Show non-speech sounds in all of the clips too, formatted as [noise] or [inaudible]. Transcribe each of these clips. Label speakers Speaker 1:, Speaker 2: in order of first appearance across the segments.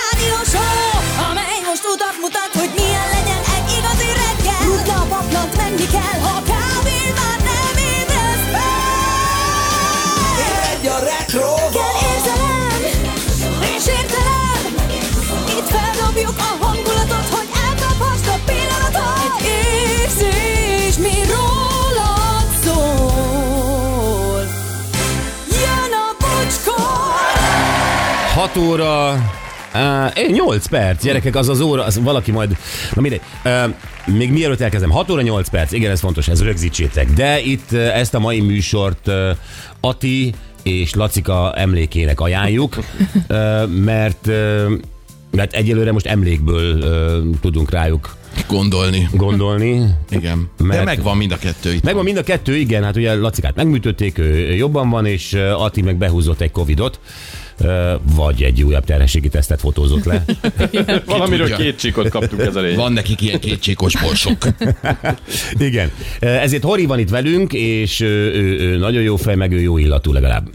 Speaker 1: rádió show, amely most utat mutat, hogy milyen legyen egy igazi reggel. Rutna a paplant, menni kell, ha kávé már nem ébresz fel.
Speaker 2: Egy a retro
Speaker 1: Kell érzelem, és értelem, itt feldobjuk a hangulatot, hogy elkaphast a pillanatot. Egy érzés, mi rólad szól. Jön a bocskor!
Speaker 3: 6 óra... Uh, 8 perc, gyerekek, az az óra, az valaki majd... Na mindegy. Uh, még mielőtt elkezdem, 6 óra 8 perc, igen, ez fontos, ez rögzítsétek. De itt uh, ezt a mai műsort uh, Ati és Lacika emlékének ajánljuk, uh, mert, uh, mert egyelőre most emlékből uh, tudunk rájuk
Speaker 4: gondolni.
Speaker 3: gondolni.
Speaker 4: Igen.
Speaker 3: Mert-
Speaker 4: De megvan mind a kettő itt.
Speaker 3: Megvan mind a kettő, igen, hát ugye Lacikát megműtötték, ő jobban van, és ö, Ati meg behúzott egy Covidot, ö, vagy egy újabb terhességi tesztet fotózott le.
Speaker 5: Valamiről
Speaker 4: tudja.
Speaker 5: két csíkot kaptuk, ez a lényeg.
Speaker 4: Van nekik ilyen kétségos borsok.
Speaker 3: Igen. Ö, Ezért Hori van itt velünk, és ö, ő, ő nagyon jó fej, meg ő jó illatú legalább.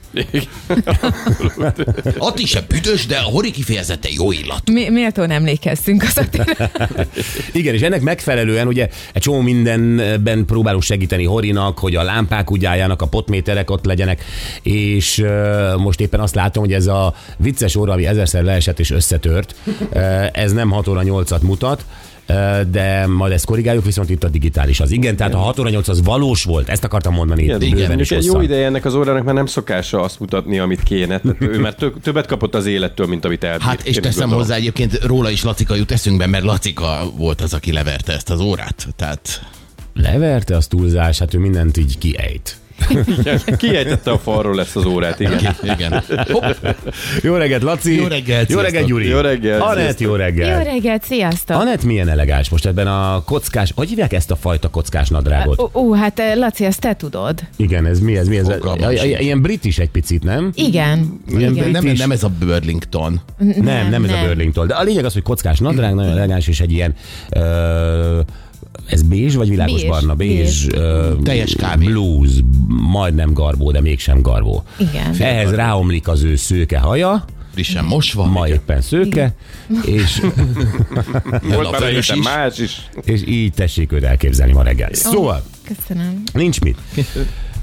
Speaker 4: Atti se büdös, de a hori kifejezetten jó illat.
Speaker 6: Mi, méltón emlékeztünk az Attinak.
Speaker 3: Igen, és ennek megfelelően ugye egy csomó mindenben próbálunk segíteni Horinak, hogy a lámpák ugyáljanak, a potméterek ott legyenek, és ö, most éppen azt látom, hogy ez a vicces óra, ami ezerszer leesett és összetört, ö, ez nem 6 óra 8-at mutat, ö, de majd ezt korrigáljuk, viszont itt a digitális az. Igen, tehát a 6 óra 8 az valós volt, ezt akartam mondani itt
Speaker 4: igen,
Speaker 3: bőven
Speaker 5: Mondjuk
Speaker 3: is
Speaker 5: egy jó
Speaker 3: hosszan.
Speaker 5: ideje ennek az órának már nem szokása azt mutatni, amit kéne. Tehát ő már tök, többet kapott az élettől, mint amit elbírt.
Speaker 4: Hát, és
Speaker 5: Én
Speaker 4: teszem
Speaker 5: gondolom.
Speaker 4: hozzá egyébként róla is Lacika jut eszünkbe, mert Lacika volt az, aki leverte ezt az órát. Tehát
Speaker 3: Leverte az túlzás, hát ő mindent így kiejt.
Speaker 5: Igen, [laughs] Kiejtette a falról ezt az órát, igen.
Speaker 4: igen. Hopp,
Speaker 3: Jó reggelt, Laci!
Speaker 4: Jó reggelt,
Speaker 3: Jó reggelt,
Speaker 4: sziasztok!
Speaker 3: Gyuri!
Speaker 5: Jó reggelt,
Speaker 3: Anett,
Speaker 5: sziasztok!
Speaker 3: jó reggelt!
Speaker 6: Jó reggelt, sziasztok!
Speaker 3: Anett milyen elegáns most ebben a kockás, hogy hívják ezt a fajta kockás nadrágot?
Speaker 6: Ó, ó, hát eh, Laci, ezt te tudod.
Speaker 3: Igen, ez mi ez? Mi ez?
Speaker 4: Fogalmam
Speaker 3: I- I-
Speaker 4: sincs.
Speaker 3: Ilyen brit is egy picit, nem?
Speaker 6: Igen.
Speaker 3: Ilyen
Speaker 6: igen.
Speaker 3: brit
Speaker 4: nem,
Speaker 3: is. Mhm.
Speaker 4: nem ez a Burlington.
Speaker 3: nem, nem ez a Burlington. De a lényeg az, hogy kockás nadrág, nagyon elegáns, és egy ilyen... Ö, ez bézs vagy világos
Speaker 6: Bézs,
Speaker 3: barna? Bézs. ö,
Speaker 4: Teljes kávé.
Speaker 3: Blues, majdnem garbó, de mégsem garbó.
Speaker 6: Igen.
Speaker 3: Ehhez ráomlik az ő szőke haja,
Speaker 4: Frissen mosva.
Speaker 3: ma éppen szőke, és,
Speaker 5: Volt már
Speaker 4: Napfényes
Speaker 5: előtte
Speaker 4: is.
Speaker 5: más is.
Speaker 3: és így tessék őt elképzelni ma reggel. Szóval,
Speaker 6: Köszönöm.
Speaker 4: [laughs]
Speaker 3: Nincs mit.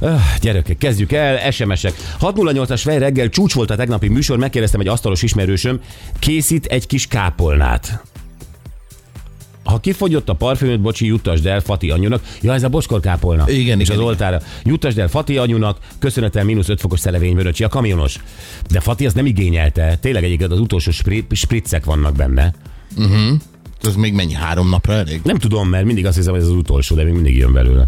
Speaker 3: Öh, Gyerekek, kezdjük el, SMS-ek. 608-as fej reggel csúcs volt a tegnapi műsor, megkérdeztem egy asztalos ismerősöm, készít egy kis kápolnát. Ha kifogyott a parfümöt, bocsi, juttasd el Fati anyunak. Ja, ez a bocskor kápolna.
Speaker 4: Igen,
Speaker 3: És
Speaker 4: igen,
Speaker 3: az
Speaker 4: igen.
Speaker 3: oltára. Juttasd el Fati anyunak, köszönetel mínusz 5 fokos szelevényvöröcsi, a kamionos. De Fati az nem igényelte. Tényleg egyébként az utolsó spri- spriccek vannak benne.
Speaker 4: Ez még mennyi? Három napra elég?
Speaker 3: Nem tudom, mert mindig azt hiszem, hogy ez az utolsó, de még mindig jön belőle.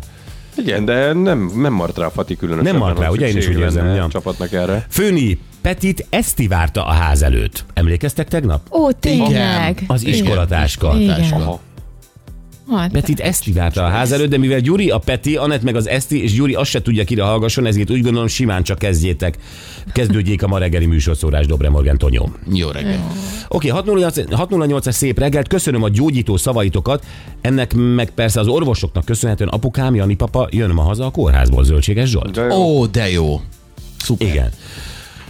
Speaker 5: Igen, de nem, nem mart rá a Fati különösen.
Speaker 3: Nem maradt rá, ugye? Én is úgy érzem, ja.
Speaker 5: A csapatnak erre.
Speaker 3: Főni Petit Eszti várta a ház előtt. Emlékeztek tegnap?
Speaker 6: Ó, tényleg.
Speaker 4: Igen.
Speaker 3: Az iskolatáska.
Speaker 6: Igen.
Speaker 4: Táska.
Speaker 6: Hát,
Speaker 3: Petit Eszti várta a ház előtt, de mivel Gyuri a Peti, Anett meg az Eszti, és Gyuri azt se tudja, kire hallgasson, ezért úgy gondolom simán csak kezdjétek. Kezdődjék a ma reggeli műsorszórás Dobre Morgan Tonyó.
Speaker 4: Jó reggel.
Speaker 3: Oké, 608 608-as szép reggelt, köszönöm a gyógyító szavaitokat, ennek meg persze az orvosoknak köszönhetően apukám, Jani papa jön ma haza a kórházból, Zöldséges Zsolt.
Speaker 5: De jó.
Speaker 4: Ó, de jó. Szuper.
Speaker 3: Igen.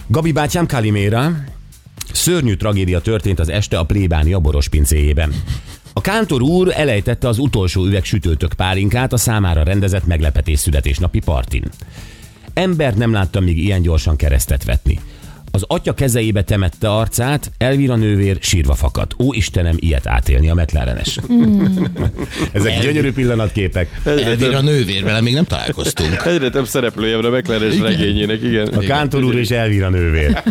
Speaker 3: Gabi bátyám Kaliméra, szörnyű tragédia történt az este a plébánia borospincéjében. A kántor úr elejtette az utolsó üveg sütőtök pálinkát a számára rendezett meglepetés születésnapi partin. Embert nem láttam még ilyen gyorsan keresztet vetni. Az atya kezeibe temette arcát, Elvira nővér sírva fakadt. Ó Istenem, ilyet átélni a McLarenes. [laughs] Ezek gyönyörű pillanatképek.
Speaker 4: Elvér a nővér, vele még nem találkoztunk.
Speaker 5: Egyre több szereplője van a McLaren regényének, igen.
Speaker 3: A kántor úr és Elvira nővér.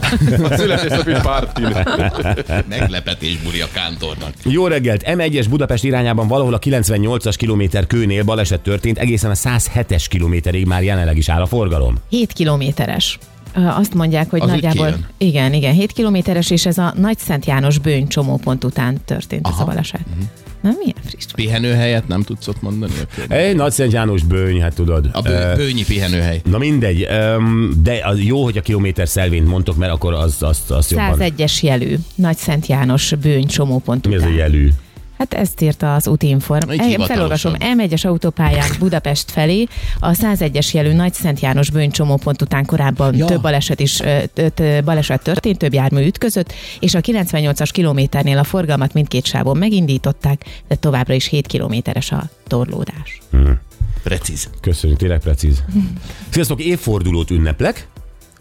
Speaker 5: A születésnapi pártin.
Speaker 3: Hát,
Speaker 4: Meglepetés buli a kántornak.
Speaker 3: Jó reggelt! M1-es Budapest irányában valahol a 98-as kilométer kőnél baleset történt, egészen a 107-es kilométerig már jelenleg is áll a forgalom.
Speaker 6: 7 kilométeres. Ö, Azt mondják, hogy
Speaker 4: Az úgy
Speaker 6: nagyjából...
Speaker 4: kijön.
Speaker 6: Igen, igen, 7 kilométeres, és ez a Nagy Szent János bőny csomópont után történt ez a baleset. Na, milyen friss vagy.
Speaker 4: Pihenőhelyet nem tudsz ott mondani?
Speaker 3: Egy Nagy Szent János bőny, hát tudod.
Speaker 4: A
Speaker 3: Ö,
Speaker 4: bő, bőnyi pihenőhely.
Speaker 3: Na mindegy, öm, de az jó, hogy a kilométer szelvényt mondtok, mert akkor az, az, az jobban.
Speaker 6: 101-es jelű Nagy Szent János bőny csomópont
Speaker 3: Mi ez
Speaker 6: után.
Speaker 3: a jelű?
Speaker 6: Hát ezt írta az útinform.
Speaker 4: Így
Speaker 6: E,
Speaker 4: hivatalosan.
Speaker 6: Felolvasom, M1-es autópályán Budapest felé a 101-es jelű Nagy Szent János bőncsomópont után korábban
Speaker 4: Ja.
Speaker 6: ja. több baleset is ö, ö, ö, baleset történt, több jármű ütközött, és a 98-as kilométernél a forgalmat mindkét sávon megindították, de továbbra is 7 kilométeres a torlódás.
Speaker 4: Precíz.
Speaker 3: Köszönjük, tényleg precíz. Sziasztok, évfordulót ünneplek.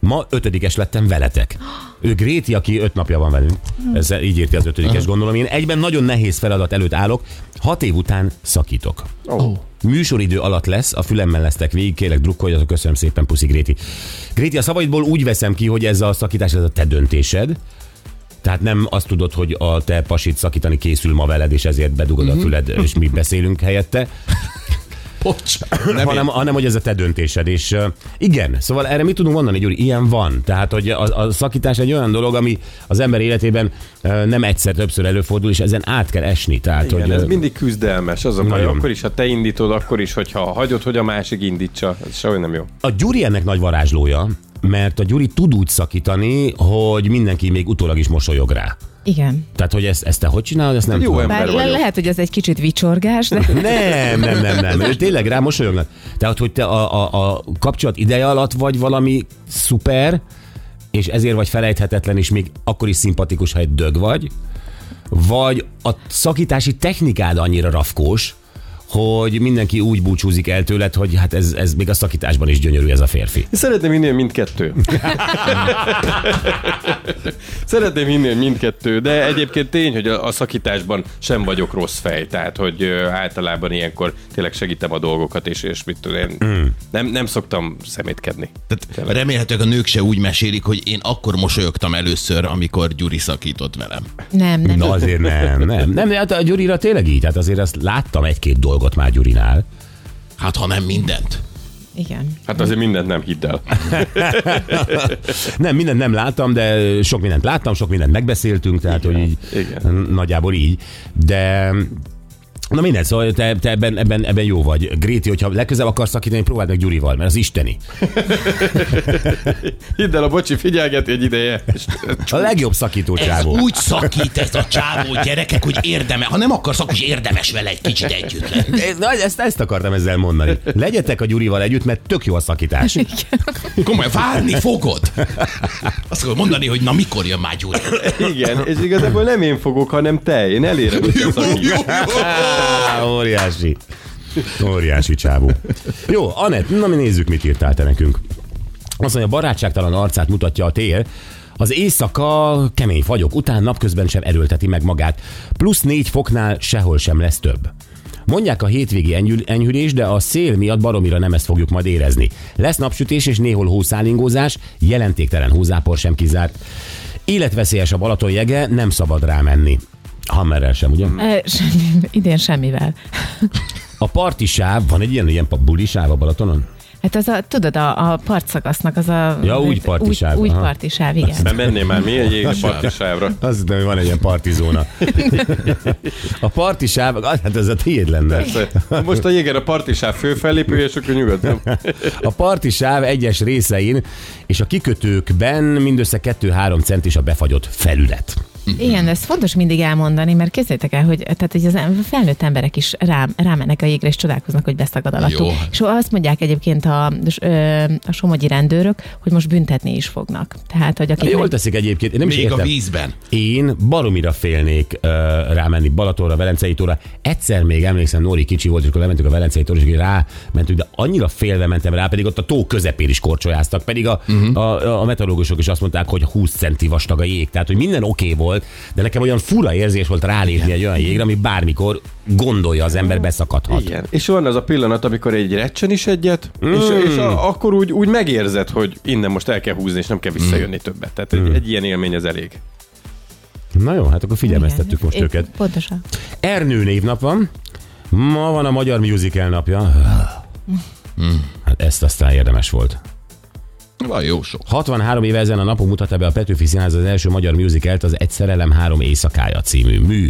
Speaker 3: Ma ötödikes lettem veletek. Ő Gréti, aki öt napja van velünk. Ezzel így írti az ötödikes, gondolom. Én egyben nagyon nehéz feladat előtt állok. Hat év után szakítok.
Speaker 5: Oh.
Speaker 3: Műsoridő alatt lesz, a fülemmel lesztek végig, kérlek drukkoljatok, köszönöm szépen, puszi Gréti. Gréti, a szavaidból úgy veszem ki, hogy ez a szakítás, ez a te döntésed. Tehát nem azt tudod, hogy a te pasit szakítani készül ma veled, és ezért bedugod
Speaker 5: Mhm.
Speaker 3: a füled, és mi beszélünk
Speaker 5: [laughs]
Speaker 3: helyette
Speaker 4: Pocs. Nem
Speaker 3: hanem,
Speaker 4: én.
Speaker 3: hanem hogy ez a te döntésed. És uh, igen, szóval erre mit tudunk mondani, Gyuri? Ilyen van. Tehát, hogy a, a szakítás egy olyan dolog, ami az ember életében uh, nem egyszer, többször előfordul, és ezen át kell esni. Tehát,
Speaker 5: Igen,
Speaker 3: hogy,
Speaker 5: ez
Speaker 3: ö,
Speaker 5: mindig küzdelmes, az a baj.
Speaker 3: Nagyon.
Speaker 5: Akkor is, ha te indítod, akkor is, hogyha hagyod, hogy a másik indítsa. Ez sehogy nem jó.
Speaker 3: A Gyuri ennek nagy varázslója, mert a Gyuri tud úgy szakítani, hogy mindenki még utólag is mosolyog rá.
Speaker 6: Igen.
Speaker 3: Tehát, hogy ezt, ezt te hogy csinálod, ezt nem
Speaker 5: Jó
Speaker 3: tudom.
Speaker 5: ember.
Speaker 6: Bár
Speaker 5: vagyok.
Speaker 6: lehet, hogy ez egy kicsit vicsorgás, de
Speaker 3: Nem, nem, nem, nem. Ő tényleg rá mosolyognak. Tehát, hogy te a, a, a kapcsolat ideje alatt vagy valami szuper, és ezért vagy felejthetetlen, és még akkor is szimpatikus, ha egy dög vagy, vagy a szakítási technikád annyira rafkós, hogy mindenki úgy búcsúzik el tőled, hogy hát ez, ez még a szakításban is gyönyörű ez a férfi.
Speaker 5: Szeretném hinni, hogy mindkettő. Szeretném hinni, hogy mindkettő, de egyébként tény, hogy a, a szakításban sem vagyok rossz fej, tehát hogy ö, általában ilyenkor tényleg segítem a dolgokat, és, és mit tudom, én nem, nem szoktam szemétkedni.
Speaker 4: Tehát remélhetőleg a nők se úgy mesélik, hogy én akkor mosolyogtam először, amikor Gyuri szakított velem.
Speaker 6: nem, nem.
Speaker 3: Na azért nem, nem. Nem, de hát a Gyurira tényleg így, hát azért azt láttam egy-két dolgot már Gyurinál.
Speaker 4: Hát ha nem mindent.
Speaker 6: Igen.
Speaker 5: Hát azért mindent nem hidd el.
Speaker 3: Nem, mindent nem láttam, de sok mindent láttam, sok mindent megbeszéltünk, tehát igen, hogy így
Speaker 5: igen.
Speaker 3: igen. nagyjából így. De Na mindegy, szóval te, te ebben, ebben, ebben jó vagy. Gréti, hogyha legközelebb akarsz szakítani, próbáld meg Gyurival, mert az isteni.
Speaker 5: Hidd el, a bocsi figyelgeti egy ideje. És,
Speaker 3: A legjobb szakító
Speaker 4: Ez
Speaker 3: csávó.
Speaker 4: úgy szakít ez a csávó gyerekek, hogy érdemes. Ha nem akarsz, akkor is érdemes vele egy kicsit együtt lenni.
Speaker 3: Ez- Na, ezt, ezt akartam ezzel mondani. Legyetek a Gyurival együtt, mert tök jó a szakítás.
Speaker 4: Komolyan várni fogod. Azt fogod mondani, hogy na mikor jön már Gyuri.
Speaker 5: igen, és igazából nem én fogok, hanem te. Én elérem, hogy te szakíts.
Speaker 3: Á, Óriási. Óriási csávó. Jó, Anett, na mi nézzük, mit írtál te nekünk. Azt mondja, barátságtalan arcát mutatja a tél, az éjszaka kemény fagyok után napközben sem erőlteti meg magát. Plusz négy foknál sehol sem lesz több. Mondják a hétvégi enyhül, enyhülés, de a szél miatt baromira nem ezt fogjuk majd érezni. Lesz napsütés és néhol hószálingózás, jelentéktelen húzápor sem kizárt. Életveszélyes a Balaton jege, nem szabad rámenni. Hammerrel sem, ugye?
Speaker 6: E, semmi, idén semmivel.
Speaker 3: A parti sáv, van egy ilyen, ilyen pa- buli sáv a Balatonon?
Speaker 6: Hát az a, tudod, a, a partszakasznak az a...
Speaker 3: Ja, úgy partisáv,
Speaker 6: Úgy, úgy
Speaker 3: aha.
Speaker 6: partisáv, igen.
Speaker 5: Nem mennél már mi egy égi partosávra.
Speaker 3: Azt hittem, hogy van egy ilyen partizóna. [laughs] a parti sáv, az- hát ez a tiéd lenne.
Speaker 5: Most a jéger a partisáv főfellépője, és akkor nyugodtan.
Speaker 3: A parti sáv egyes részein és a kikötőkben mindössze 2-3 centis a befagyott felület.
Speaker 6: Igen, de ez fontos mindig elmondani, mert képzeljétek el, hogy, tehát, hogy az em- felnőtt emberek is rá, rámennek a jégre, és csodálkoznak, hogy beszagad alattuk.
Speaker 4: Jó.
Speaker 6: És azt mondják egyébként a, ö, a somogyi rendőrök, hogy most büntetni is fognak. Tehát, hogy akik...
Speaker 3: Jól teszik egyébként, én nem is
Speaker 4: Még a
Speaker 3: értem.
Speaker 4: vízben.
Speaker 3: Én baromira félnék uh, rámenni Balatonra, Velencei tóra. Egyszer még emlékszem, Nóri kicsi volt, és akkor lementünk a Velencei tóra, és így rámentünk, de annyira félve mentem rá, pedig ott a tó közepén is korcsolyáztak, pedig a,
Speaker 6: Mhm.
Speaker 3: uh-huh. a, a meteorológusok is azt mondták, hogy 20 centi vastag a jég, tehát hogy minden oké okay volt, de nekem olyan fura érzés volt rálépni egy olyan jégre, ami bármikor gondolja az ember beszakadhat.
Speaker 5: Igen. És van az a pillanat, amikor egy recsen is egyet, mm. és, és a, akkor úgy, úgy megérzed, hogy innen most el kell húzni, és nem kell visszajönni
Speaker 3: Mm.
Speaker 5: többet. Tehát egy, egy ilyen élmény az elég.
Speaker 3: Na jó, hát akkor figyelmeztettük
Speaker 6: Igen,
Speaker 3: most
Speaker 6: én-
Speaker 3: őket.
Speaker 6: Pontosan.
Speaker 3: Ernő névnap van. Ma van a Magyar Musical napja.
Speaker 6: Mm.
Speaker 3: Hát ezt aztán érdemes volt.
Speaker 4: Van jó sok.
Speaker 3: 63 éve ezen a napon mutatta be a Petőfi Színház az első magyar musicalt, az Egy szerelem három éjszakája című mű.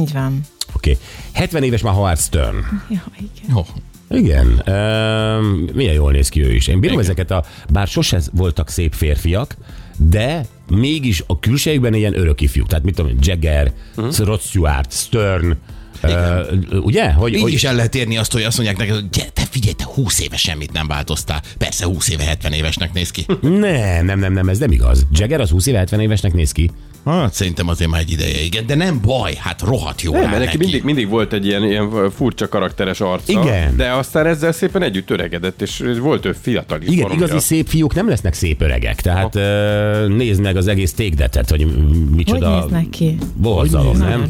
Speaker 6: Így van.
Speaker 3: Oké. Okay. 70 éves már Howard Stern.
Speaker 6: Ja, igen.
Speaker 4: Jó.
Speaker 3: Igen, Ehm, milyen jól néz ki ő is. Én bírom Igen. ezeket a, bár sose voltak szép férfiak, de mégis a külsejükben ilyen örök ifjú. Tehát mit tudom, én, Jagger,
Speaker 4: Mhm.
Speaker 3: uh-huh. Rod Stewart, Stern, Uh, ugye? Hogy,
Speaker 4: Így
Speaker 3: hogy
Speaker 4: is el lehet érni azt, hogy azt mondják neked, hogy "Gyere, te figyelj, te 20 éve semmit nem változtál. Persze 20 éve 70 évesnek néz ki.
Speaker 3: Nem, nem, nem, nem, ez nem igaz. Jagger az 20 éve 70 évesnek néz ki.
Speaker 4: Hát szerintem azért már egy ideje, igen, de nem baj, hát rohadt jó
Speaker 5: Nem,
Speaker 4: áll
Speaker 5: mert neki mindig, mindig volt egy ilyen, ilyen furcsa karakteres arca.
Speaker 3: Igen.
Speaker 5: De aztán ezzel szépen együtt öregedett, és volt ő fiatal is.
Speaker 3: Igen,
Speaker 5: baromira.
Speaker 3: igazi szép fiúk nem lesznek szép öregek. Tehát ö, nézd meg az egész tégdetet, hogy m-
Speaker 6: Hogy
Speaker 3: micsoda
Speaker 6: néznek ki?
Speaker 3: borzalom, nem?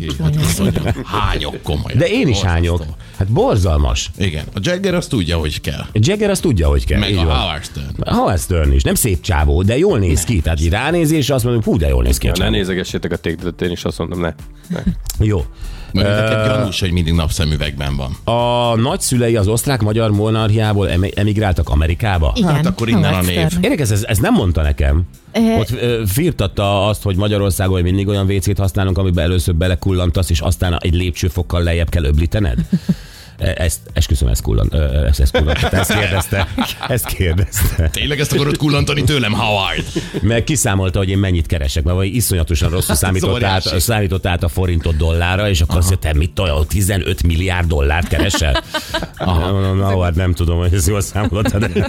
Speaker 4: Hányok komolyan.
Speaker 3: De én is hányok.
Speaker 4: Borzasztó.
Speaker 3: Hát borzalmas.
Speaker 4: Igen, a Jagger azt tudja, hogy kell.
Speaker 3: Jagger azt tudja, hogy kell.
Speaker 4: Meg
Speaker 3: így
Speaker 4: a
Speaker 3: van.
Speaker 4: Howard Stern.
Speaker 3: Howard Stern is, nem szép csávó, de jól néz ki. Tehát így ránézésre azt mondom, hú, de jól néz ki a
Speaker 5: Ja, ne
Speaker 3: csávó.
Speaker 5: nézegessétek a tégdet, én is azt mondom, ne. [laughs] ne.
Speaker 3: Jó.
Speaker 4: Mert ezeket gyanús, hogy mindig napszemüvegben van.
Speaker 3: A nagyszülei az osztrák-magyar monarchiából em- emigráltak Amerikába?
Speaker 6: Igen,
Speaker 4: Hát akkor innen a
Speaker 6: Howard
Speaker 4: név.
Speaker 6: Stern.
Speaker 3: Érdekes, ez, ez nem mondta nekem.
Speaker 6: Eh.
Speaker 3: Ott ö, firtatta azt, hogy Magyarországon mindig olyan WC-t használunk, amiben először belekullantasz, és aztán egy lépcsőfokkal lejjebb kell öblítened. E- Ezt, esküszöm, ezt kullant, ö, ezt, ezt kullant, ezt kérdezte, ezt kérdezte.
Speaker 4: Tényleg ezt akarod kullantani tőlem, Howard?
Speaker 3: [laughs] Mert kiszámolta, hogy én mennyit keresek, mert vagy iszonyatosan [laughs] rosszul számított
Speaker 4: óriási.
Speaker 3: át, számított át a forintot dollárra, és akkor azt mondja, te mit olyan 15 milliárd dollárt [laughs] keresel? Aha. Mondom, na, hát nem tudom, hogy ez jól számolta, de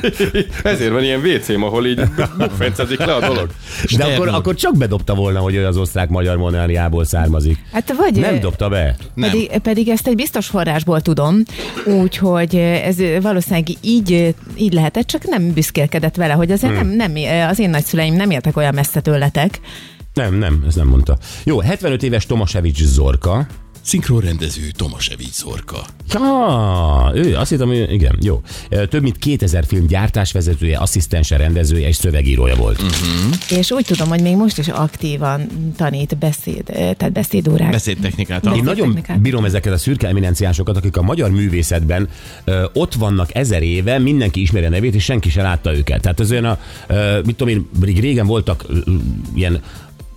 Speaker 5: Ezért van ilyen WC-m, ahol így [laughs] bufencezik le a dolog.
Speaker 3: De
Speaker 4: Stern
Speaker 3: akkor,
Speaker 4: úr.
Speaker 3: akkor csak bedobta volna, hogy ő az osztrák-magyar monarchiából származik.
Speaker 6: Hát vagy
Speaker 3: Nem dobta be.
Speaker 4: Nem.
Speaker 6: Pedig, pedig ezt egy biztos forrásból tudom, úgyhogy ez valószínűleg így, így lehetett, csak nem büszkélkedett vele, hogy azért hmm. nem, nem, az én nagyszüleim nem éltek olyan messze tőletek.
Speaker 3: Nem, nem, ez nem mondta. Jó, 75 éves Tomasevics Zorka.
Speaker 4: Szinkronrendező Tomasevics Zorka.
Speaker 3: Ja, ő, azt hittem, hogy igen, jó. Ö, Több mint 2000 film gyártásvezetője, asszisztense, rendezője és szövegírója volt.
Speaker 6: És úgy tudom, hogy még most is aktívan tanít beszéd, tehát beszédórák.
Speaker 4: Beszédtechnikát.
Speaker 3: Én
Speaker 4: a-
Speaker 3: nagyon
Speaker 6: technikát.
Speaker 3: bírom ezeket a szürke eminenciásokat, akik a magyar művészetben ö, ott vannak ezer éve, mindenki ismeri a nevét, és senki se látta őket. Tehát az olyan a, ö, mit tudom én, pedig régen voltak ö, ilyen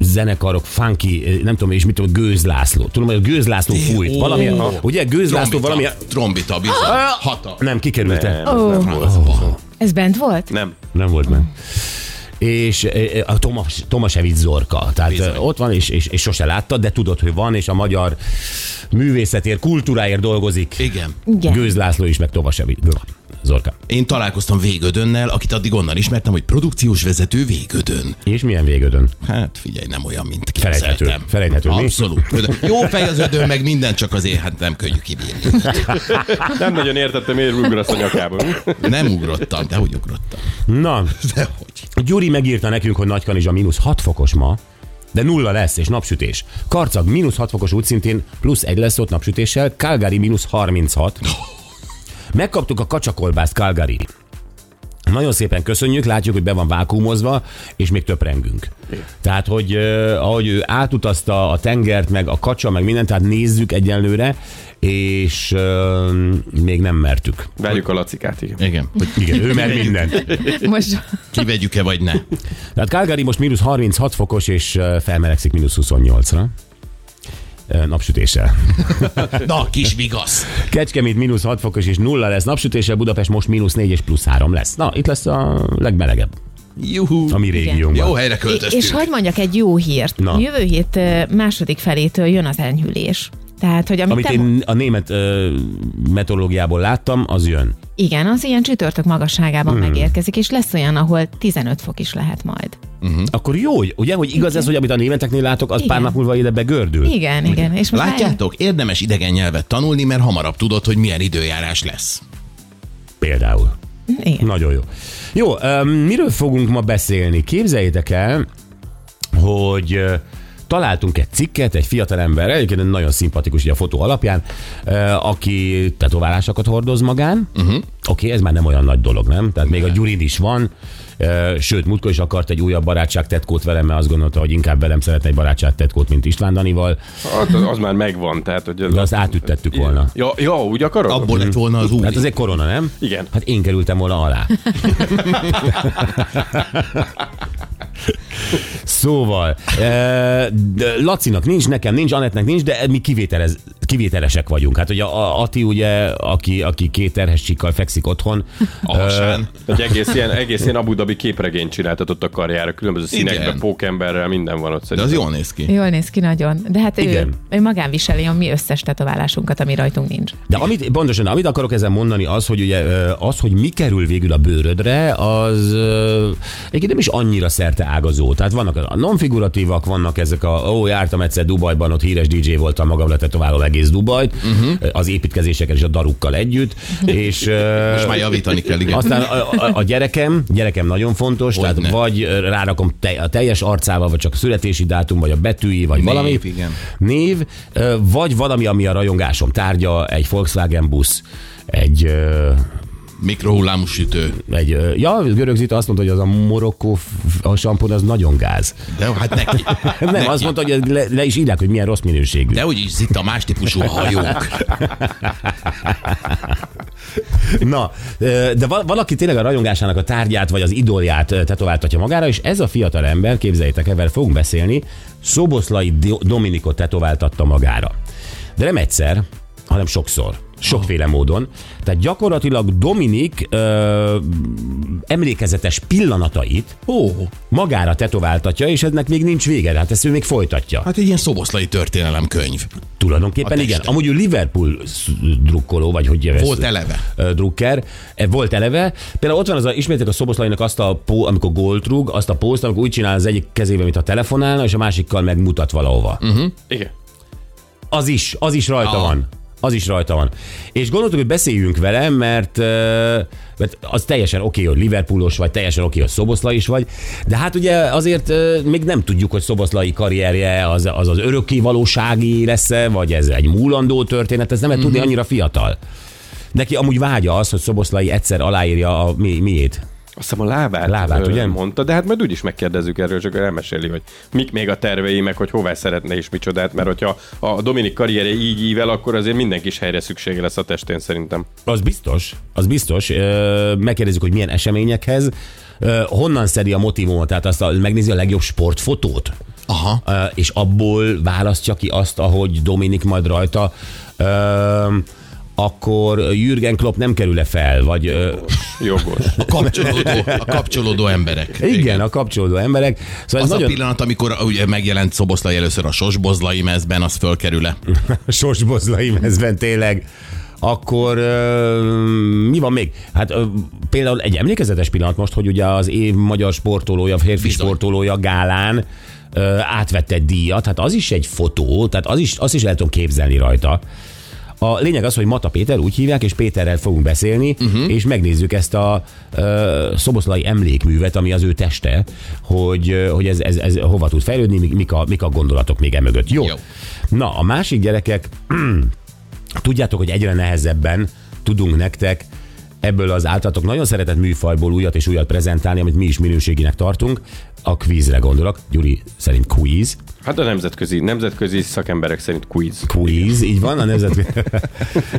Speaker 3: zenekarok, funky, ö, nem tudom, és mit tudom, Gőz László. Tudom, hogy a Gőz László fújt.
Speaker 4: ó.
Speaker 3: Valami, ugye Gőz László valami...
Speaker 4: Trombita, bizony. Hata.
Speaker 3: Nem, kikerülte.
Speaker 5: Nem, oh. nem, volt.
Speaker 6: Ez bent
Speaker 5: [laughs]
Speaker 6: volt?
Speaker 5: nem.
Speaker 3: Nem volt meg. És ö, ö, a Tomas, Tomasevics Zorka, tehát Bizony. ott van, és, és, és sose látta, de tudod, hogy van, és a magyar művészetért, kultúráért dolgozik.
Speaker 4: Igen.
Speaker 6: Igen.
Speaker 3: Gőz László is, meg Tomasevics Zorka.
Speaker 4: Én találkoztam Végödönnel, akit addig onnan ismertem, hogy produkciós vezető Végödön.
Speaker 3: És milyen végödön?
Speaker 4: Hát figyelj, nem olyan, mint
Speaker 3: Felejthető.
Speaker 4: képzeltem.
Speaker 3: Felejthető, mi?
Speaker 4: Abszolút. Jó fej az ödön, meg minden, csak azért hát nem könnyű kibírni.
Speaker 5: Nem nagyon értettem, miért ugrasz a nyakába.
Speaker 4: Nem ugrottam, de hogy ugrottam.
Speaker 3: Na,
Speaker 4: Dehogy.
Speaker 3: Gyuri megírta nekünk, hogy Nagykanizsa mínusz 6 fokos ma, de nulla lesz és napsütés. Karcag mínusz 6 fokos útszintén plusz egy lesz ott napsütéssel, Calgary mínusz 36. Megkaptuk a kacsakolbászt Calgary. Nagyon szépen köszönjük, látjuk, hogy be van vákumozva, és még töprengünk. Tehát, hogy eh, ahogy ő átutazta a tengert, meg a kacsa, meg mindent, tehát nézzük egyenlőre, és eh, még nem mertük.
Speaker 5: Várjuk a lacikát, igen.
Speaker 4: Igen, hogy
Speaker 3: Igen, [laughs] ő mer mindent.
Speaker 6: Most
Speaker 4: kivegyük-e vagy ne.
Speaker 3: Tehát Calgary most mínusz 36 fokos, és ö, felmelegszik mínusz 28-ra. Ö,
Speaker 6: [laughs]
Speaker 3: Napsütéssel.
Speaker 4: Na, kis vigasz.
Speaker 3: Kecskemét mínusz 6 fokos és nulla lesz napsütéssel, Budapest most mínusz 4 és plusz 3 lesz. Na, itt lesz a legmelegebb
Speaker 4: Juhu.
Speaker 3: a mi
Speaker 4: Jó
Speaker 6: hát
Speaker 3: régiónkban.
Speaker 4: helyre költöztünk.
Speaker 6: És hagyd mondjak egy jó hírt.
Speaker 3: Na.
Speaker 6: Na. Jövő hét ö, második felétől jön az enyhülés. Tehát, hogy amit,
Speaker 3: Amit
Speaker 6: te
Speaker 3: én a német ö, meteorológiából láttam, az jön.
Speaker 6: Igen, az ilyen csütörtök magasságában hmm. megérkezik, és lesz olyan, ahol 15 fok is lehet majd.
Speaker 3: Akkor jó, hogy- ugye, hogy igaz ez, hogy amit a németeknél látok, az
Speaker 6: Hm? Igen.
Speaker 3: pár nap múlva ide begördül.
Speaker 6: Igen, igen. És most várjunk.
Speaker 4: Látjátok, érdemes idegen nyelvet tanulni, mert hamarabb tudod, hogy milyen időjárás lesz.
Speaker 3: Például.
Speaker 6: Igen.
Speaker 3: Nagyon jó. Jó, um, miről fogunk ma beszélni? Képzeljétek el, hogy ö, találtunk egy cikket egy fiatalemberre, egyébként nagyon szimpatikus ugye a fotó alapján, ö, aki tetoválásokat hordoz magán. Uh-huh. Oké, okay, ez már nem olyan nagy dolog, nem? Tehát még a Gyurid is van, ö, sőt, múltkor is akart egy újabb barátság tetkót velem, mert azt gondolta, hogy inkább velem szeretne egy barátság tetkót, mint István Danival,
Speaker 5: Az, az már megvan, tehát... Hogy az,
Speaker 3: de azt átüttettük volna.
Speaker 5: Ja, ja, úgy akarod?
Speaker 4: Abból lett volna az új.
Speaker 3: Hát azért korona, nem?
Speaker 5: Igen.
Speaker 3: Hát én kerültem volna alá. Szóval, eh, de Lacinak nincs, nekem nincs, Anetnek nincs, de mi kivételez, kivételesek vagyunk. Hát ugye a- Ati, ugye, aki, aki két terhes csíkkal fekszik otthon,
Speaker 4: A hasán.
Speaker 5: Egy egész ilyen, egész ilyen Abu Dhabi képregényt csináltatott a karjára, különböző színekben,
Speaker 4: Igen.
Speaker 5: pókemberrel, minden van ott
Speaker 4: De az
Speaker 5: szerintem.
Speaker 4: jól néz ki.
Speaker 6: Jól néz ki nagyon. De hát ő,
Speaker 3: Igen.
Speaker 6: ő magán viseli a mi összes tetoválásunkat, ami rajtunk nincs.
Speaker 3: De amit, pontosan, amit akarok ezen mondani, az, hogy ugye ö, az, hogy mi kerül végül a bőrödre, az ö, egyébként nem is annyira szerte ágazó. Tehát vannak a nonfiguratívak, vannak ezek a, ó, jártam egyszer Dubajban, ott híres DJ voltam, magamra tetoválom egész Dubajt,
Speaker 4: Mhm.
Speaker 3: uh-huh. az építkezésekkel és a darukkal együtt, és ö,
Speaker 4: Most már javítani kell, igen.
Speaker 3: aztán a, a, a gyerekem, gyerekem nagyon fontos, Hogyne. tehát
Speaker 4: Hogyne.
Speaker 3: vagy ö, rárakom te, a teljes arcával, vagy csak születési dátum, vagy a betűi, vagy
Speaker 4: Név,
Speaker 3: valami
Speaker 4: igen.
Speaker 3: név, ö, vagy valami, ami a rajongásom tárgya, egy Volkswagen busz, egy, ö,
Speaker 4: Mikrohullámú sütő.
Speaker 3: egy ö, ja, Görögzita azt mondta, hogy az a marokkó f- a sampon az nagyon gáz.
Speaker 4: De hát neki.
Speaker 3: Nem, azt mondta, hogy le, le is írják, hogy milyen rossz minőségű.
Speaker 4: De úgyis zita más típusú hajók.
Speaker 3: Na, ö, de val- valaki tényleg a rajongásának a tárgyát vagy az idolját ö, tetováltatja magára, és ez a fiatal ember, képzeljétek el, vele fogunk beszélni, Szoboszlai Di- Dominikot tetováltatta magára. De nem egyszer, hanem sokszor. Sokféle módon. Tehát gyakorlatilag Dominik ö, emlékezetes pillanatait
Speaker 4: Ó,
Speaker 3: magára tetováltatja, és ennek még nincs vége, hát ezt ő még folytatja.
Speaker 4: hát egy ilyen szoboszlai történelemkönyv.
Speaker 3: Tulajdonképpen
Speaker 4: A
Speaker 3: igen.
Speaker 4: teste.
Speaker 3: Amúgy ő Liverpool sz- drukkoló, vagy hogy jövesz?
Speaker 4: Volt eleve.
Speaker 3: Drucker. Eh, Volt eleve. Például ott van az a, ismétek a Szoboszlainak azt a pó, amikor gólt rúg, azt a pózt, amikor úgy csinál az egyik kezével, mint a telefonálna, és a másikkal meg mutat valahova. Uh-huh.
Speaker 5: Igen.
Speaker 3: Az is, az is rajta
Speaker 4: Aha.
Speaker 3: van. Az is rajta van. És gondoltuk, hogy beszéljünk vele, mert, eh, mert az teljesen oké, hogy Liverpoolos vagy, teljesen oké, hogy Szoboszlai is vagy, de hát ugye azért eh, még nem tudjuk, hogy Szoboszlai karrierje az az, az örökké valósági lesz-e, vagy ez egy múlandó történet, ez nem lehet tudni annyira fiatal. Neki amúgy vágya az, hogy Szoboszlai egyszer aláírja a mi, miét.
Speaker 5: Azt hiszem a lábát,
Speaker 3: Lábát,
Speaker 5: ö,
Speaker 3: ugye?
Speaker 5: mondta, de hát majd úgyis megkérdezzük erről, csak elmeséli, hogy mik még a tervei, meg hogy hová szeretne és micsodát, mert hogyha a Dominik karrierje így ível, akkor azért minden kis helyre szüksége lesz a testén szerintem.
Speaker 3: Az biztos, az biztos. Ö, Megkérdezzük, hogy milyen eseményekhez, Ö, honnan szedi a motivumot, tehát azt a, megnézi a legjobb sportfotót,
Speaker 4: Aha.
Speaker 3: Ö, és abból választja ki azt, ahogy Dominik majd rajta, ö, akkor Jürgen Klopp nem kerül-e fel, vagy ö,
Speaker 5: Jogos.
Speaker 4: A kapcsolódó, a kapcsolódó emberek.
Speaker 3: igen, a kapcsolódó emberek. Szóval
Speaker 4: Az
Speaker 3: ez
Speaker 4: nagyon... a
Speaker 3: nagyon
Speaker 4: pillanat, amikor uh, ugye megjelent Szoboszlai először a sosbozlai mezben, az fölkerül-e?
Speaker 3: [laughs] sosbozlaim ezben tényleg. Akkor ö, mi van még? Hát ö, például egy emlékezetes pillanat most, hogy ugye az év magyar sportolója, férfi
Speaker 4: Bizony.
Speaker 3: sportolója gálán ö, átvette egy díjat, hát az is egy fotó, tehát az is, azt is el tudom képzelni rajta. A lényeg az, hogy Mata Péter úgy hívják, és Péterrel fogunk beszélni,
Speaker 4: Mhm.
Speaker 3: uh-huh. és megnézzük ezt a ö, szoboszlai emlékművet, ami az ő teste, hogy, ö, hogy ez, ez, ez hova tud fejlődni, mik- mik a, mik a gondolatok még emögött. Jó. Jó.
Speaker 4: Jó.
Speaker 3: Na, a másik gyerekek, [clears throat] tudjátok, hogy egyre nehezebben tudunk nektek ebből az általatok nagyon szeretett műfajból újat és újat prezentálni, amit mi is minőséginek tartunk. A quizre gondolok, Gyuri szerint quiz.
Speaker 5: Hát a nemzetközi, nemzetközi szakemberek szerint quiz.
Speaker 3: Quiz, így van a nemzet.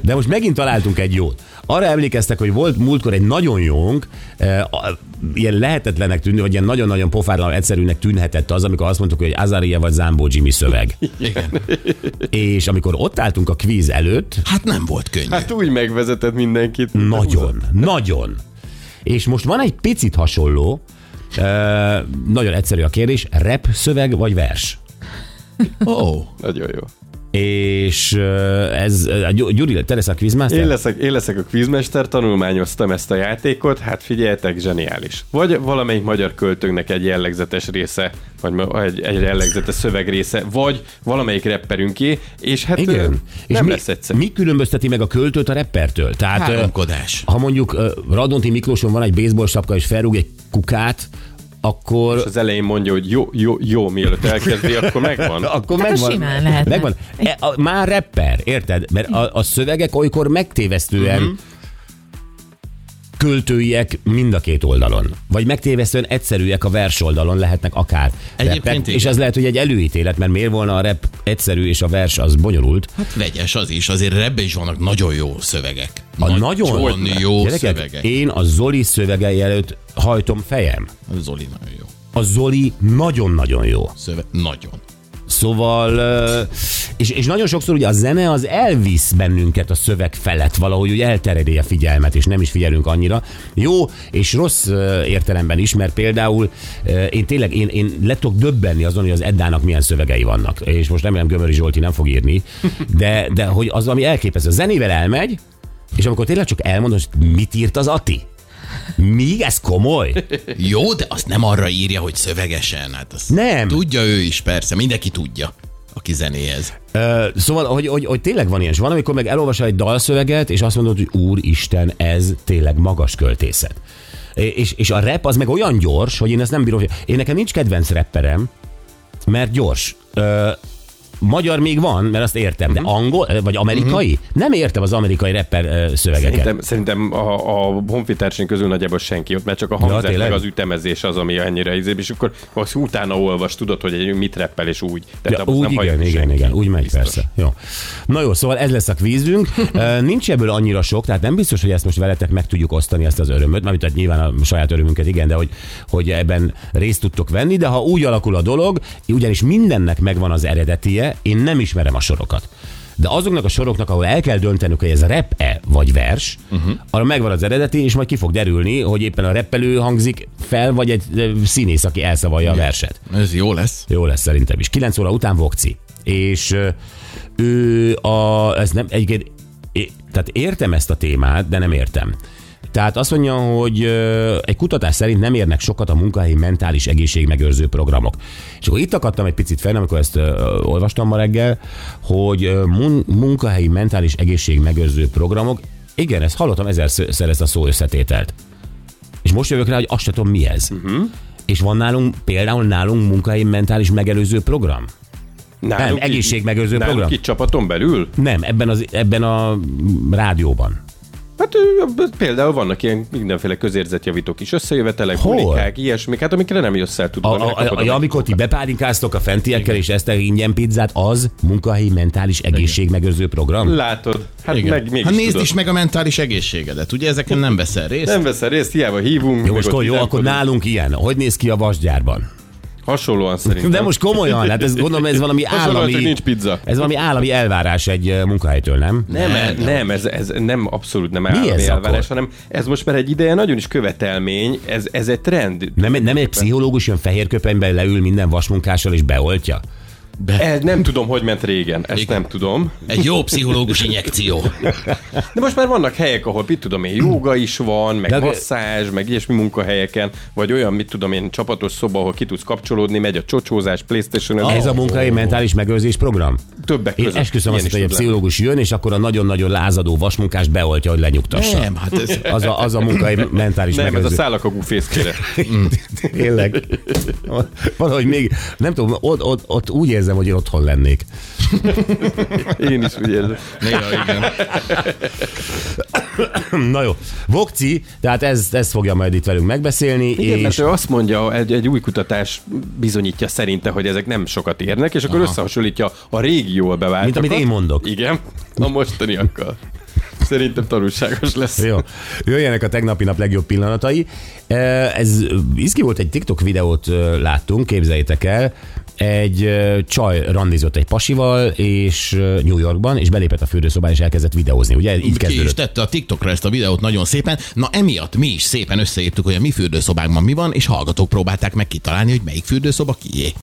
Speaker 3: De most megint találtunk egy jót. Arra emlékeztek, hogy volt múltkor egy nagyon jónk, eh, a- ilyen lehetetlenek tűnő, vagy ilyen nagyon-nagyon pofárlan egyszerűnek tűnhetett az, amikor azt mondtuk, hogy Azaria vagy Zámbó Jimmy szöveg.
Speaker 4: Igen.
Speaker 3: És amikor ott álltunk a quiz előtt,
Speaker 4: Hát nem volt könnyű.
Speaker 5: Hát úgy megvezetett mindenkit.
Speaker 3: Nagyon, nagyon. És most van egy picit hasonló, ö, nagyon egyszerű a kérdés, rap szöveg vagy vers?
Speaker 4: Ó, oh,
Speaker 5: Nagyon jó.
Speaker 3: És ö, ez, ö, Gy- Gyuri, te leszel a
Speaker 5: Én
Speaker 3: quizmaster?
Speaker 5: leszek, én leszek a quizmester, tanulmányoztam ezt a játékot, hát figyeljetek, zseniális. Vagy valamelyik magyar költőnknek egy jellegzetes része, vagy ma- egy, egy jellegzetes szövegrésze, vagy valamelyik rapperünké, és hát ö,
Speaker 3: Igen.
Speaker 5: nem
Speaker 3: És mi,
Speaker 5: lesz egyszer.
Speaker 3: mi különbözteti meg a költőt a rappertől? Tehát, ö,
Speaker 4: háromkodás.
Speaker 3: ha mondjuk ö, Radonti Miklóson van egy baseball sapka, és felrúg egy kukát, akkor...
Speaker 5: Az elején mondja, hogy jó, jó, jó, mielőtt elkezdi, akkor
Speaker 3: [laughs]
Speaker 5: megvan.
Speaker 3: Akkor
Speaker 6: Hát az simán lehetne.
Speaker 3: Megvan. E, a, már rapper, érted? Mert a, a szövegek olykor megtévesztően
Speaker 5: Mhm.
Speaker 3: uh-huh. költőiek mind a két oldalon. Vagy megtévesztően egyszerűek a vers oldalon lehetnek akár.
Speaker 4: Egyébként
Speaker 3: rappek,
Speaker 4: igen.
Speaker 3: és ez lehet, hogy egy előítélet, mert miért volna a rap egyszerű és a vers az bonyolult.
Speaker 4: Hát vegyes az is, azért ebben is vannak nagyon jó szövegek.
Speaker 3: A
Speaker 4: Nagy-
Speaker 3: nagyon
Speaker 4: nagyon jó
Speaker 3: Gyerekek,
Speaker 4: szövegek.
Speaker 3: Én a Zoli szövegei előtt hajtom fejem.
Speaker 4: Zoli nagyon jó
Speaker 3: A Zoli nagyon-nagyon jó.
Speaker 4: szöveg. Nagyon.
Speaker 3: Szóval ö, És, és nagyon sokszor ugye a zene az elvisz bennünket a szöveg felett, valahogy úgy elteredi a figyelmet, és nem is figyelünk annyira. Jó és rossz ö, értelemben is, mert például ö, én tényleg én, én le tudok döbbenni azon, hogy az Eddának milyen szövegei vannak. És most remélem Gömöri Zsolti nem fog írni, de, de hogy az, ami elképesztő. A zenével elmegy, és amikor tényleg csak elmondod, hogy mit írt az Ati? Mi? Ez komoly?
Speaker 4: Jó, de azt nem arra írja, hogy szövegesen. Hát azt
Speaker 3: Nem.
Speaker 4: Tudja ő is, persze. Mindenki tudja, aki zenéhez.
Speaker 3: Ö, szóval, hogy, hogy, hogy tényleg van ilyen, és van, amikor meg elolvasol egy dalszöveget, és azt mondod, hogy úristen, ez tényleg magas költészet. É- És, és a rap az meg olyan gyors, hogy én ezt nem bírom. Én nekem nincs kedvenc rapperem, mert gyors. Ö, magyar még van, mert azt értem, de angol, vagy amerikai? Nem értem az amerikai rapper ö, szövegeket.
Speaker 5: Szerintem, szerintem a, a honfitársaink közül nagyjából senki ott, mert csak a hangzás, ja,
Speaker 3: tényleg?
Speaker 5: meg az ütemezés az, ami ennyire izé, és akkor az utána olvas, tudod, hogy egy mit reppel, és úgy. Tehát
Speaker 3: Ja,
Speaker 5: abban
Speaker 3: úgy
Speaker 5: hajlik
Speaker 3: igen, igen,
Speaker 5: senki.
Speaker 3: igen, úgy megy
Speaker 5: Biztos.
Speaker 3: persze. Jó. Na jó, szóval ez lesz a kvízünk.
Speaker 5: [laughs]
Speaker 3: Ö, Nincs ebből annyira sok, tehát nem biztos, hogy ezt most veletek meg tudjuk osztani ezt az örömöt, mert tehát nyilván a saját örömünket igen, de hogy, hogy ebben részt tudtok venni, de ha úgy alakul a dolog, ugyanis mindennek megvan az eredetie, én nem ismerem a sorokat. De azoknak a soroknak, ahol el kell döntenünk, hogy ez rep-e vagy vers,
Speaker 5: Mhm.
Speaker 3: uh-huh. arra megvan az eredeti, és majd ki fog derülni, hogy éppen a reppelő hangzik fel, vagy egy ö, színész, aki elszavalja a verset.
Speaker 4: Ez jó lesz.
Speaker 3: Jó lesz szerintem is. 9 óra után Vokci. És ö, ő a... Ez nem, egyébként, é- tehát értem ezt a témát, de nem értem. Tehát azt mondja, hogy ö, egy kutatás szerint nem érnek sokat a munkahelyi mentális egészségmegőrző programok. És akkor itt akadtam egy picit fel, amikor ezt ö, olvastam ma reggel, hogy ö, mun- munkahelyi mentális egészségmegőrző programok, igen, ezt hallottam ezerszer ezt a szó összetételt. És most jövök rá, hogy azt se tudom, mi ez. Uh-huh. És van nálunk, például nálunk munkahelyi mentális megelőző program?
Speaker 5: Náluk
Speaker 3: Nem, egészségmegőrző
Speaker 5: náluk
Speaker 3: program.
Speaker 5: Itt csapaton belül?
Speaker 3: Nem, ebben, az, ebben a rádióban.
Speaker 5: Hát ö, például vannak ilyen mindenféle közérzetjavító kis összejövetelek,
Speaker 3: Hol?
Speaker 5: bulikák, ilyesmik, hát amikre nem jössz el
Speaker 3: A,
Speaker 5: tudod.
Speaker 3: a, a, a, amikor ti bepálinkáztok a fentiekkel, és eztek ingyen pizzát, az munkahelyi mentális egészségmegőrző program?
Speaker 5: Látod, hát
Speaker 4: Igen.
Speaker 5: meg mégis
Speaker 4: hát nézd
Speaker 5: tudod.
Speaker 4: is meg a mentális egészségedet. Ugye ezeken nem veszel részt?
Speaker 5: Nem veszel részt, hiába hívunk.
Speaker 3: Jó,
Speaker 5: meg
Speaker 3: most
Speaker 5: ott
Speaker 3: akkor, jó, akkor
Speaker 5: mindenkor-
Speaker 3: nálunk ilyen. Hogy néz ki a vasgyárban?
Speaker 5: Hasonlóan szerintem.
Speaker 3: [laughs] De most komolyan, hát ez, gondolom ez valami
Speaker 5: Hasonlóan,
Speaker 3: állami...
Speaker 5: csak nincs pizza.
Speaker 3: Ez valami állami elvárás egy ö, munkahelytől, nem?
Speaker 5: Nem, nem, nem ez, ez nem abszolút nem
Speaker 3: ez
Speaker 5: állami
Speaker 3: akkor?
Speaker 5: elvárás, hanem ez most már egy ideje nagyon is követelmény, ez, ez egy trend.
Speaker 3: Nem, nem egy pszichológus jön fehér köpenyben leül minden vasmunkással és beoltja?
Speaker 5: Ez nem tudom, hogy ment régen, ezt nem tudom.
Speaker 4: Egy jó pszichológus injekció.
Speaker 5: De most már vannak helyek, ahol mit tudom én, jóga is van, meg
Speaker 3: De-
Speaker 5: De masszázs, meg ilyesmi munkahelyeken, vagy olyan, mit tudom én, csapatos szoba, ahol ki tudsz kapcsolódni, megy a csocsózás, playstation
Speaker 3: Ah, Ez a munkahelyi mentális megőrzés program?
Speaker 5: Többek
Speaker 3: Én
Speaker 5: között.
Speaker 3: esküszöm azt,
Speaker 5: Ilyen
Speaker 3: hogy
Speaker 5: is
Speaker 3: egy
Speaker 5: tud
Speaker 3: pszichológus jön, és akkor a nagyon-nagyon lázadó vasmunkás beoltja, hogy lenyugtassa.
Speaker 4: Nem, hát ez...
Speaker 3: Az a, az a munkai mentális
Speaker 5: Nem, ez a
Speaker 3: megőrző.
Speaker 5: szálakagú fészkére.
Speaker 3: [laughs] Tényleg. Valahogy még, nem tudom, ott, ott, ott úgy érzem, hogy én otthon lennék. [clears throat]
Speaker 5: Én is úgy érzem.
Speaker 4: Néha igen.
Speaker 3: Na jó. Vokci, tehát ez, ez fogja majd itt velünk megbeszélni,
Speaker 5: Igen, mert
Speaker 3: és
Speaker 5: ő azt mondja, egy, egy új kutatás bizonyítja szerinte, hogy ezek nem sokat érnek, és akkor Aha. összehasonlítja a régi jól beváltakat.
Speaker 3: Mint amit én mondok.
Speaker 5: Igen, a mostaniakkal. Szerintem tanulságos lesz.
Speaker 3: jó. Jöjjenek a tegnapi nap legjobb pillanatai. E, Ez izgi volt, egy TikTok videót ö, láttunk, képzeljétek el. Egy ö, csaj randizott egy pasival, és ö, New Yorkban, és belépett a fürdőszobán, és elkezdett videózni. Ugye így
Speaker 4: Ki is
Speaker 3: kezdődött.
Speaker 4: tette a TikTokra ezt a videót nagyon szépen. Na emiatt mi is szépen összeírtuk, hogy a mi fürdőszobánkban mi van, és hallgatók próbálták meg kitalálni, hogy melyik fürdőszoba kié.